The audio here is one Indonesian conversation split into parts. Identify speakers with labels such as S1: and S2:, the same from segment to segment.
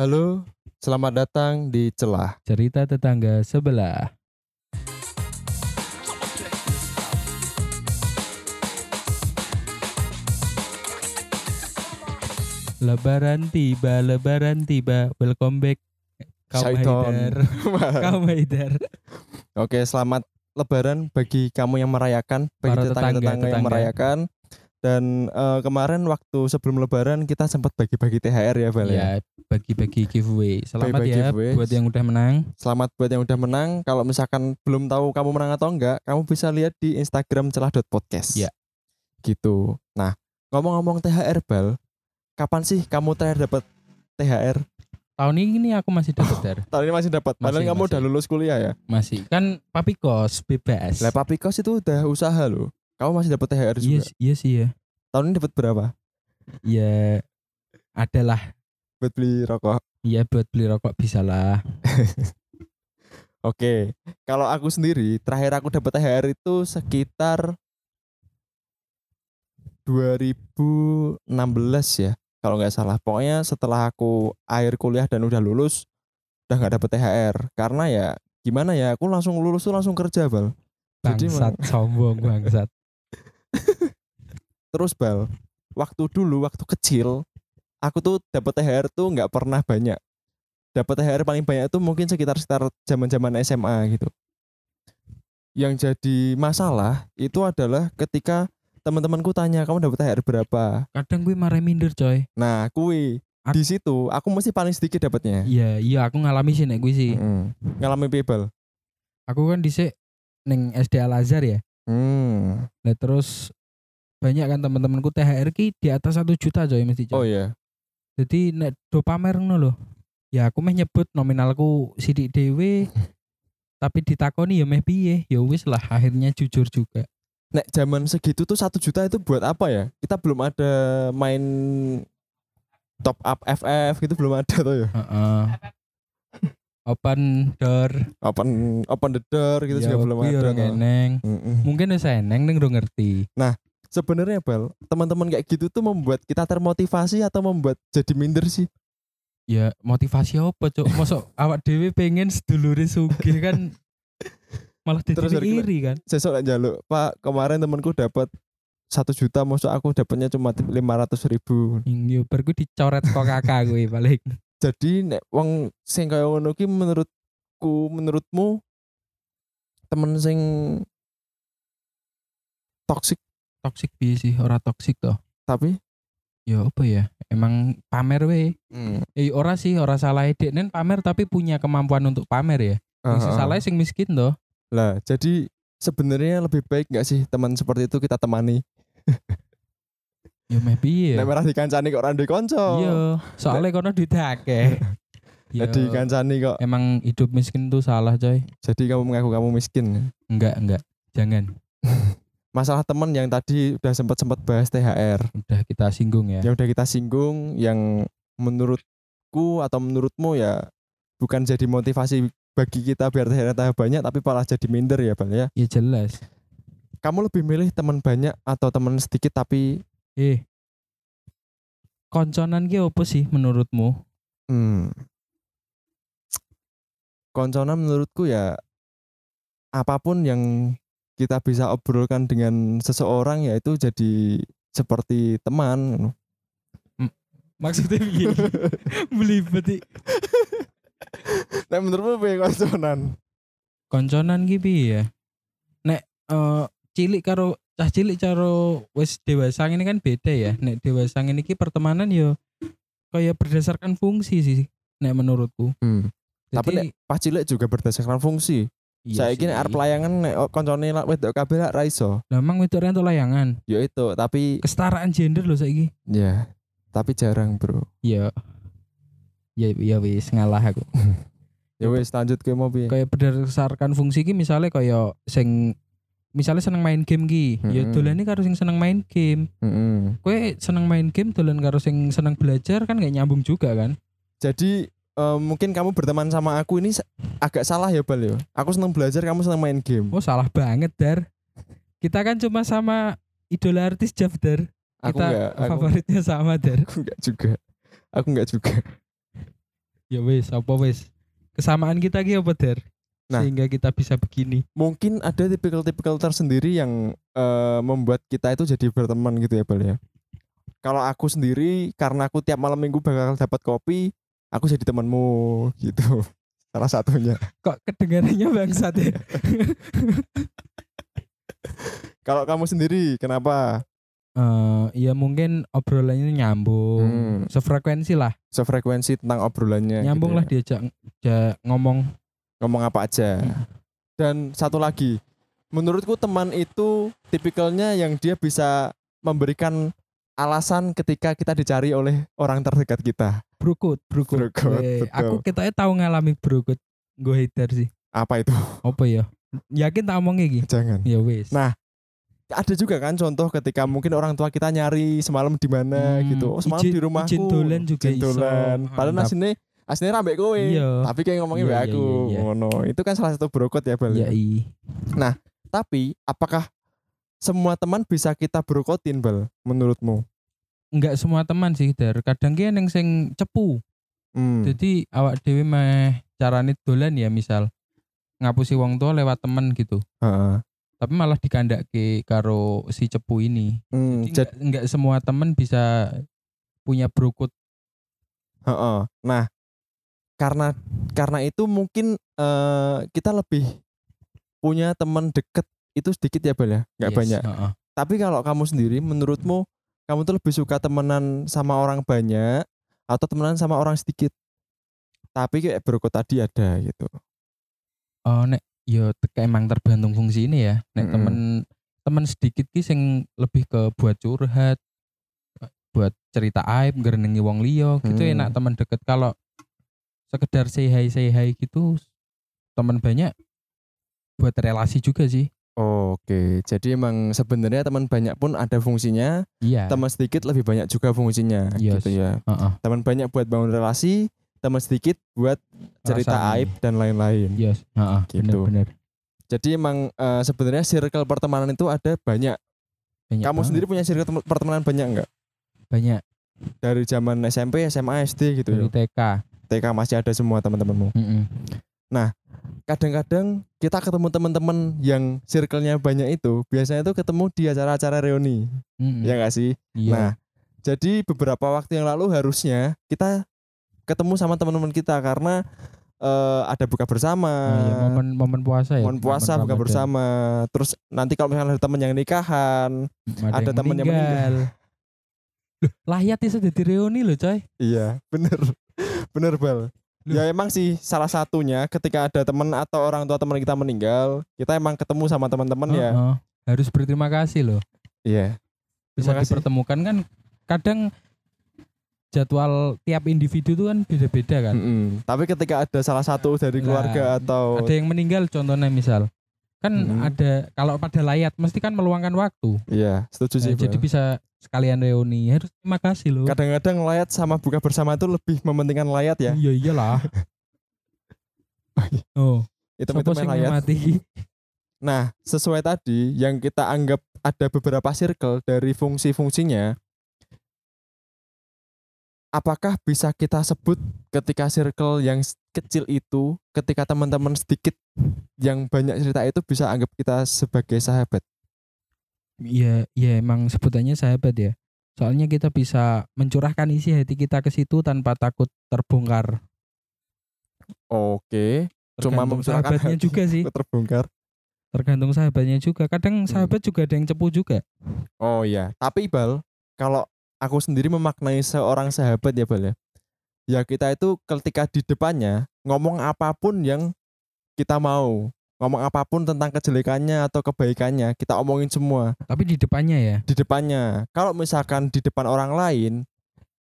S1: Halo, selamat datang di Celah.
S2: cerita tetangga sebelah. Lebaran tiba, lebaran tiba. Welcome back. Kaum
S1: Syaiton.
S2: Haidar. Kaum Haidar.
S1: Oke, selamat Lebaran bagi kamu yang merayakan, bagi
S2: Para
S1: tetangga-tetangga yang
S2: tetangga.
S1: merayakan. Dan eh, kemarin waktu sebelum Lebaran kita sempat bagi-bagi THR ya, Bal. ya?
S2: Ya, bagi-bagi giveaway. Selamat
S1: Bagi-bagi
S2: ya
S1: giveaway.
S2: buat yang udah menang.
S1: Selamat buat yang udah menang. Kalau misalkan belum tahu kamu menang atau enggak, kamu bisa lihat di Instagram celah.podcast.
S2: Ya.
S1: Gitu. Nah, ngomong-ngomong THR, Bal, kapan sih kamu terakhir dapat THR?
S2: Tahun ini aku masih dapat Dar.
S1: Tahun ini masih dapat. Padahal
S2: Masih,
S1: kamu
S2: masih.
S1: udah lulus kuliah ya.
S2: Masih. Kan papi kos bebas.
S1: Lah Papi Kos itu udah usaha loh. Kamu masih dapat THR juga.
S2: Iya, sih- iya sih ya.
S1: Tahun ini dapat berapa?
S2: Ya adalah
S1: Buat beli rokok.
S2: Iya buat beli rokok bisa lah.
S1: Oke. Kalau aku sendiri terakhir aku dapat THR itu sekitar 2016 ya. Kalau nggak salah. Pokoknya setelah aku akhir kuliah dan udah lulus udah nggak dapat THR karena ya gimana ya aku langsung lulus tuh langsung kerja bal Jadi
S2: Bangsat sombong bangsat.
S1: terus bal waktu dulu waktu kecil aku tuh dapat THR tuh nggak pernah banyak dapat THR paling banyak tuh mungkin sekitar sekitar zaman zaman SMA gitu yang jadi masalah itu adalah ketika teman-temanku tanya kamu dapat THR berapa
S2: Kadang gue marah minder coy.
S1: nah kui
S2: Ak-
S1: di situ aku mesti paling sedikit dapatnya
S2: Iya iya aku ngalami sih nek gue sih.
S1: Mm. ngalami people
S2: Aku kan dhisik neng SD Al Azhar ya.
S1: Hmm.
S2: Lah terus banyak kan teman-temanku THR ki di atas satu juta coy mesti
S1: oh
S2: coy.
S1: ya
S2: Jadi nek do pamer ngono lho. Ya aku meh nyebut nominalku sidik dhewe tapi ditakoni ya meh piye ya wis lah akhirnya jujur juga
S1: nek zaman segitu tuh satu juta itu buat apa ya kita belum ada main top up FF gitu belum ada tuh ya
S2: Heeh. open door
S1: open open the door gitu juga
S2: Ya,
S1: belum
S2: kuwi
S1: ada.
S2: orang eneng
S1: Mm-mm.
S2: mungkin wis eneng ning udah ngerti
S1: Sebenarnya Bal, teman-teman kayak gitu tuh membuat kita termotivasi atau membuat jadi minder sih.
S2: ya motivasi apa cok mosok awak dewi pengen sedulure sugih kan malah jadi
S1: Terus dari-
S2: iri kan
S1: Sesuk lek njaluk, Pak, kemarin temanku dapat satu juta, maksud aku dapatnya cuma 500.000 ribu.
S2: iya bar gue dicoret kok kakak gue paling
S1: Jadi nek wong sing kaya ngono ki menurutku, menurutmu temen sing toksik
S2: toksik bi sih ora toksik toh
S1: tapi
S2: ya apa ya emang pamer we
S1: mm,
S2: eh ora sih ora salah dek nen pamer tapi punya kemampuan untuk pamer ya yang
S1: uh-uh.
S2: salah sing miskin toh
S1: Lah, jadi sebenarnya lebih baik nggak sih teman seperti itu kita temani?
S2: ya maybe
S1: Nek
S2: ya
S1: merah dikancani kok randui konco.
S2: iya soalnya kono duit akeh Ya,
S1: Jadi dikancani kok.
S2: emang hidup miskin tuh salah coy
S1: Jadi kamu mengaku kamu miskin.
S2: enggak enggak jangan
S1: Masalah teman yang tadi udah sempat-sempat bahas THR.
S2: udah kita singgung ya
S1: Yang udah kita singgung yang menurutku atau menurutmu ya bukan jadi motivasi bagi kita biar THR tambah banyak tapi malah jadi minder ya Bang ya.
S2: ya jelas
S1: Kamu lebih milih teman banyak atau teman sedikit tapi
S2: Eh. Konconan ki opo sih menurutmu?
S1: hmm, koncona menurutku ya apapun yang kita bisa obrolkan dengan seseorang ya itu jadi seperti teman
S2: Maksudnya begini, belibet i.
S1: Nah menurutmu piye konsonan?
S2: Konconan ki piye ya? Nek eh, cilik karo cah cilik karo wis dewasa ini kan beda ya. Nek dewasa ini ki pertemanan yo kayak berdasarkan fungsi sih nek menurutku.
S1: Tapi Hmm. Pas cilik juga berdasarkan fungsi.
S2: iya
S1: Saya kira arep layangan nek koncone lak wedok kabeh lak ra iso.
S2: Lah emang wedok rentok layangan.
S1: Ya itu, tapi
S2: Kesetaraan gender loh saiki.
S1: ya tapi jarang, Bro.
S2: Ya. Ya ya wis ngalah aku.
S1: Ya wis lanjut ke mau piye?
S2: kayak berdasarkan fungsi ki misalnya kayak sing misalnya seneng main game ki ya
S1: Mm-mm.
S2: dolan karo sing seneng main game
S1: Mm-mm.
S2: kue seneng main game dolan karo sing seneng belajar kan gak nyambung juga kan
S1: Jadi eh, mungkin kamu berteman sama aku ini sa- agak salah ya Bal ya. Aku seneng belajar, kamu seneng main game.
S2: oh salah banget dar kita kan cuma sama idola artis Jeff dar
S1: Aku
S2: kita
S1: enggak, aku,
S2: favoritnya sama dar
S1: aku enggak juga. Aku enggak juga.
S2: ya wes apa wes kesamaan kita ki apa der
S1: Nah.
S2: sehingga kita bisa begini
S1: mungkin ada tipikal-tipikal tersendiri yang eh, membuat kita itu jadi berteman gitu ya Bal ya. Kalau aku sendiri karena aku tiap malam minggu bakal dapat kopi, aku jadi temanmu gitu. Salah satunya.
S2: kok kedengarannya bangsat ya
S1: Kalau kamu sendiri kenapa?
S2: Eh, ya mungkin obrolannya nyambung
S1: Hmm,
S2: sefrekuensi lah
S1: sefrekuensi tentang obrolannya.
S2: nyambung
S1: gitu
S2: lah
S1: ya.
S2: diajak diajak ngomong
S1: Ngomong apa aja.
S2: Hmm.
S1: Dan satu lagi, menurutku teman itu tipikalnya yang dia bisa memberikan alasan ketika kita dicari oleh orang terdekat kita.
S2: brokut brokut
S1: Brokut,
S2: Eh,
S1: betul.
S2: aku kita tahu ngalami brokut gue hater sih
S1: Apa itu?
S2: apa ya yakin tak omongnya iki
S1: Jangan.
S2: ya wes
S1: Nah, ada juga kan contoh ketika mungkin orang tua kita nyari semalam di mana
S2: Hmm,
S1: gitu. Oh, semalam
S2: izin-
S1: di rumahku.
S2: izin dolan juga
S1: Izin
S2: iso.
S1: dolan. Padahal ya.
S2: Mantap.
S1: aslinya aslinya rambek kowe.
S2: Iya.
S1: Tapi kayak ngomongin
S2: Iya,
S1: mbak
S2: iya,
S1: aku.
S2: iya, iya.
S1: Ngono. Itu kan salah satu brokot ya, Bal.
S2: ya i
S1: Tapi apakah semua teman bisa kita brokotin, Bal, menurutmu?
S2: nggak semua teman sih der kadang ki yang sing cepu
S1: Hmm.
S2: jadi awak dewi meh carane dolan ya misal ngapusi wong tua lewat temen gitu
S1: Heeh.
S2: tapi malah dikandake karo si cepu ini
S1: Hmm,
S2: Jadi
S1: jad-
S2: nggak- nggak semua temen bisa punya brokut
S1: heeh. Nah, karena karena itu mungkin eh, kita lebih punya teman deket itu sedikit ya, Bal ya. Enggak
S2: Yes,
S1: banyak.
S2: heeh.
S1: Tapi kalau kamu sendiri, menurutmu kamu tuh lebih suka temenan sama orang banyak atau temenan sama orang sedikit? Tapi kayak berikut tadi ada gitu.
S2: oh nek yo teka emang tergantung fungsi ini ya nek
S1: Mm-mm.
S2: temen temen sedikit ki sing lebih ke buat curhat buat cerita aib ngerenengi wong liya gitu
S1: Hmm.
S2: enak temen deket kalau sekedar say hi say hi gitu temen banyak buat relasi juga sih
S1: Oke, jadi emang sebenarnya teman banyak pun ada fungsinya,
S2: iya
S1: teman sedikit lebih banyak juga fungsinya
S2: Yes.
S1: gitu ya.
S2: Heeh.
S1: Teman banyak buat bangun relasi, teman sedikit buat cerita
S2: Perasaan.
S1: aib dan lain-lain.
S2: Yes, heeh,
S1: Gitu.
S2: bener-bener.
S1: Jadi emang eh, sebenarnya circle pertemanan itu ada banyak.
S2: Banyak
S1: kamu
S2: banget.
S1: sendiri punya circle tem- pertemanan banyak nggak?
S2: banyak
S1: Dari zaman SMP, SMA, SD gitu ya.
S2: dari TK.
S1: TK masih ada semua teman-temanmu.
S2: Mm-mm.
S1: kadang-kadang kita ketemu teman-teman yang circle-nya banyak itu biasanya itu ketemu di acara-acara reuni
S2: Mm-mm.
S1: ya nggak sih
S2: Iya.
S1: nah jadi beberapa waktu yang lalu harusnya kita ketemu sama teman-teman kita karena eh, ada buka bersama
S2: Nah, iya, momen momen puasa
S1: Eh,
S2: ya.
S1: momen puasa buka
S2: Ramadan.
S1: bersama terus nanti kalau misalnya ada teman yang nikahan ada
S2: yang
S1: temen yang meninggal.
S2: Loh, lahyat itu jadi reuni loh, coy.
S1: iya bener bener bal
S2: Loh.
S1: ya emang sih salah satunya ketika ada teman atau orang tua teman kita meninggal kita emang ketemu sama teman-teman ya
S2: Heeh. Harus berterima kasih loh.
S1: iya
S2: Bisa
S1: Terima kasih.
S2: dipertemukan kan kadang jadwal tiap individu itu kan beda-beda kan.
S1: Mm-mm. Tapi ketika ada salah satu dari
S2: Nah,
S1: keluarga atau
S2: Ada yang meninggal contohnya misal. Kan
S1: Mm-mm.
S2: ada kalau pada layat mesti kan meluangkan waktu.
S1: iya, setuju sih.
S2: Nah, jadi
S1: Bal.
S2: bisa sekalian reuni. Harus terima kasih loh.
S1: Kadang-kadang layat sama buka bersama itu lebih mementingkan layat ya.
S2: Iya iyalah. oh,
S1: Itu
S2: sopo sing
S1: layat.
S2: mati?
S1: Nah, sesuai tadi yang kita anggap ada beberapa circle dari fungsi-fungsinya apakah bisa kita sebut ketika circle yang s- kecil itu ketika teman-teman sedikit yang banyak cerita itu bisa anggap kita sebagai sahabat.
S2: Iya, ya emang sebutannya sahabat ya. Soalnya kita bisa mencurahkan isi hati kita ke situ tanpa takut terbongkar.
S1: Oke, Cuma
S2: Tergantung
S1: mencurahkan
S2: sahabatnya
S1: hati.
S2: juga sih.
S1: terbongkar.
S2: Tergantung sahabatnya juga.
S1: Hmm.
S2: Kadang sahabat juga ada yang cepu juga.
S1: Oh iya, tapi Bal, kalau aku sendiri memaknai seorang sahabat ya Bal ya. Ya kita itu ketika di depannya ngomong apapun yang kita mau, ngomong apapun tentang kejelekannya atau kebaikannya, kita omongin semua
S2: Tapi di depannya ya.
S1: di depannya. Kalau misalkan di depan orang lain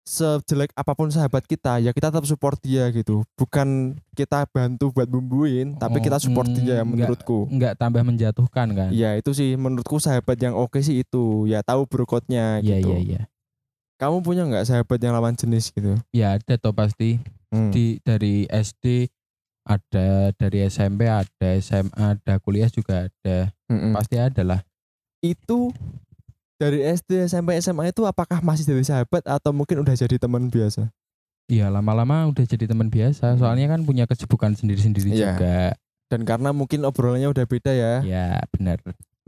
S1: sejelek apapun sahabat kita ya kita tetap support dia gitu bukan kita bantu buat bumbuin tapi
S2: Oh,
S1: kita support
S2: hmm,
S1: dia
S2: enggak.
S1: menurutku
S2: nggak tambah menjatuhkan kan.
S1: ya itu sih menurutku sahabat yang oke sih itu ya tahu brokotnya
S2: Iya,
S1: gitu
S2: iya, iya.
S1: kamu punya nggak sahabat yang lawan jenis gitu?
S2: Ya ada toh pasti.
S1: Hmm.
S2: Di dari SD ada, dari SMP ada, SMA ada, kuliah juga ada.
S1: Mm-mm.
S2: Pasti ada lah.
S1: Itu dari SD sampai SMA itu apakah masih jadi sahabat atau mungkin udah jadi teman biasa?
S2: Iya lama-lama udah jadi teman biasa. Soalnya kan punya kesibukan sendiri-sendiri
S1: Hmm. Iya.
S2: juga.
S1: Dan karena mungkin obrolannya udah beda ya.
S2: Ya benar.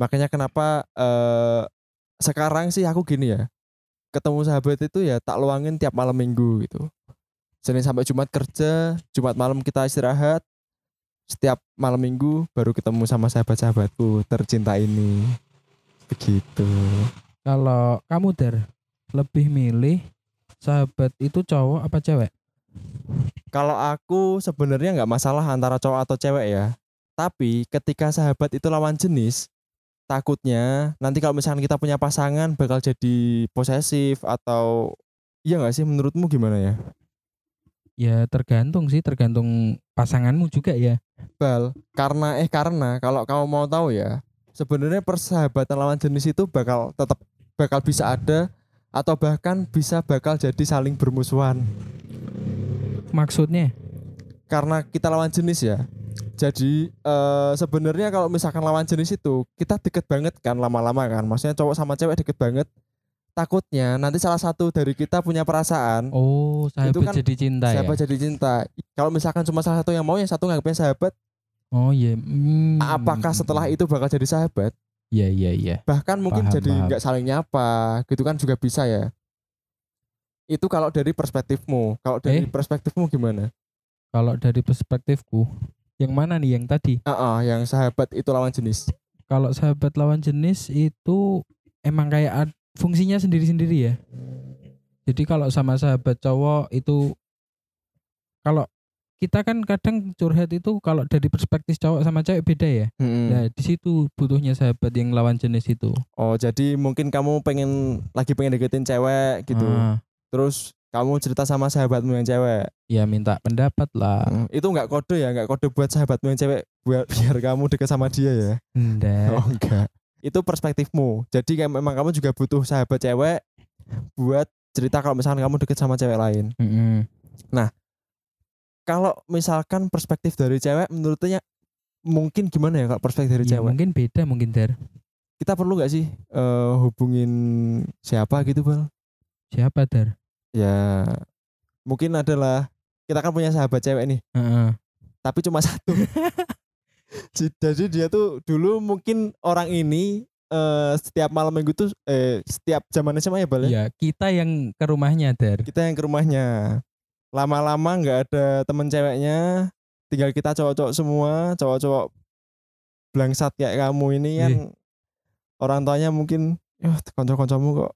S1: Makanya kenapa eh sekarang sih aku gini ya. Ketemu sahabat itu ya tak luangin tiap malam minggu gitu. Senin sampai Jumat kerja, Jumat malam kita istirahat. Setiap malam minggu baru ketemu sama sahabat-sahabatku tercinta ini. Begitu.
S2: Kalau kamu der lebih milih sahabat itu cowok apa cewek?
S1: Kalau aku sebenarnya nggak masalah antara cowok atau cewek ya. Tapi ketika sahabat itu lawan jenis, takutnya nanti kalau misalkan kita punya pasangan bakal jadi posesif atau iya nggak sih menurutmu gimana ya?
S2: Ya tergantung sih, tergantung pasanganmu juga ya.
S1: Bal, karena eh karena kalau kamu mau tahu ya, sebenarnya persahabatan lawan jenis itu bakal tetap bakal bisa ada atau bahkan bisa bakal jadi saling bermusuhan.
S2: Maksudnya?
S1: karena kita lawan jenis ya. Jadi eh, sebenarnya kalau misalkan lawan jenis itu kita deket banget kan lama-lama kan. Maksudnya cowok sama cewek deket banget. Takutnya nanti salah satu dari kita punya perasaan
S2: Oh sahabat
S1: kan
S2: jadi cinta
S1: sahabat
S2: ya?
S1: jadi cinta. Kalau misalkan cuma salah satu yang mau yang satu nggak sahabat,
S2: Oh iya. Hmm.
S1: apakah setelah itu bakal jadi sahabat?
S2: Iya iya iya.
S1: Bahkan mungkin
S2: Paham,
S1: jadi
S2: paham.
S1: nggak saling nyapa, gitu kan juga bisa ya. Itu kalau dari perspektifmu. Kalau dari
S2: Eh?
S1: perspektifmu gimana?
S2: Kalau dari perspektifku, yang mana nih yang tadi?
S1: Ah, ah, yang sahabat itu lawan jenis.
S2: Kalau sahabat lawan jenis itu emang kayak ad- fungsinya sendiri-sendiri ya. Jadi kalau sama sahabat cowok itu kalau kita kan kadang curhat itu kalau dari perspektif cowok sama cewek beda ya.
S1: Mm-mm.
S2: Nah, di situ butuhnya sahabat yang lawan jenis itu.
S1: Oh, jadi mungkin kamu pengen lagi pengen deketin cewek gitu.
S2: Ah,
S1: Terus kamu cerita sama sahabatmu yang cewek.
S2: ya minta pendapat lah.
S1: Hmm, Itu nggak kode ya, nggak kode buat sahabatmu yang cewek buat biar kamu deket sama dia ya.
S2: Ndak.
S1: Oh, enggak. Itu perspektifmu. Jadi kayak memang kamu juga butuh sahabat cewek buat cerita kalau misalkan kamu deket sama cewek lain.
S2: Mm-mm.
S1: Kalau misalkan perspektif dari cewek menurutnya mungkin gimana ya kalau perspektif dari
S2: Ya,
S1: cewek?
S2: mungkin beda mungkin der.
S1: Kita perlu nggak sih eh, hubungin siapa gitu, Bal?
S2: Siapa der?
S1: ya mungkin adalah kita kan punya sahabat cewek nih
S2: Heeh.
S1: tapi cuma satu Ji- jadi dia tuh dulu mungkin orang ini eh, setiap malam minggu tuh eh, setiap zaman SMA ya balik
S2: Ya, kita yang ke rumahnya der.
S1: kita yang ke rumahnya lama-lama nggak ada temen ceweknya tinggal kita cowok-cowok semua cowok-cowok blangsat kayak kamu ini
S2: Iya.
S1: kan orang tuanya mungkin ya konco-koncomu kok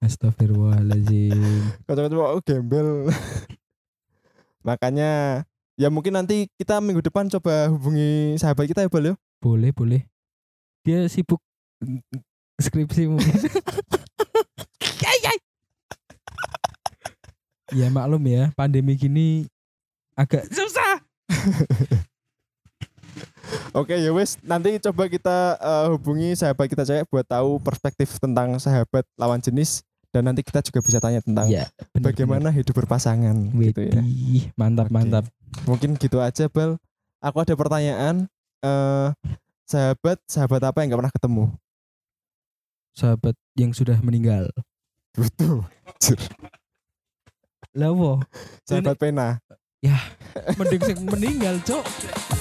S2: Astagfirullahaladzim.
S1: kocok-kocok oh, gembel makanya ya mungkin nanti kita minggu depan coba hubungi sahabat kita ya Bal ya
S2: Boleh, boleh. Dia sibuk skripsi mungkin. ya maklum ya, pandemi gini agak susah.
S1: oke ya wes nanti coba kita eh, hubungi sahabat kita cewek buat tahu perspektif tentang sahabat lawan jenis dan nanti kita juga bisa tanya tentang
S2: Ya, bener-bener.
S1: Iya, bagaimana hidup berpasangan gitu ya
S2: Widih, mantap
S1: Oke.
S2: mantap.
S1: mungkin gitu aja Bal aku ada pertanyaan eh sahabat sahabat apa yang nggak pernah ketemu
S2: Sahabat yang sudah meninggal.
S1: betul
S2: Lawo,
S1: sahabat pena
S2: mending sing meninggal, Cok.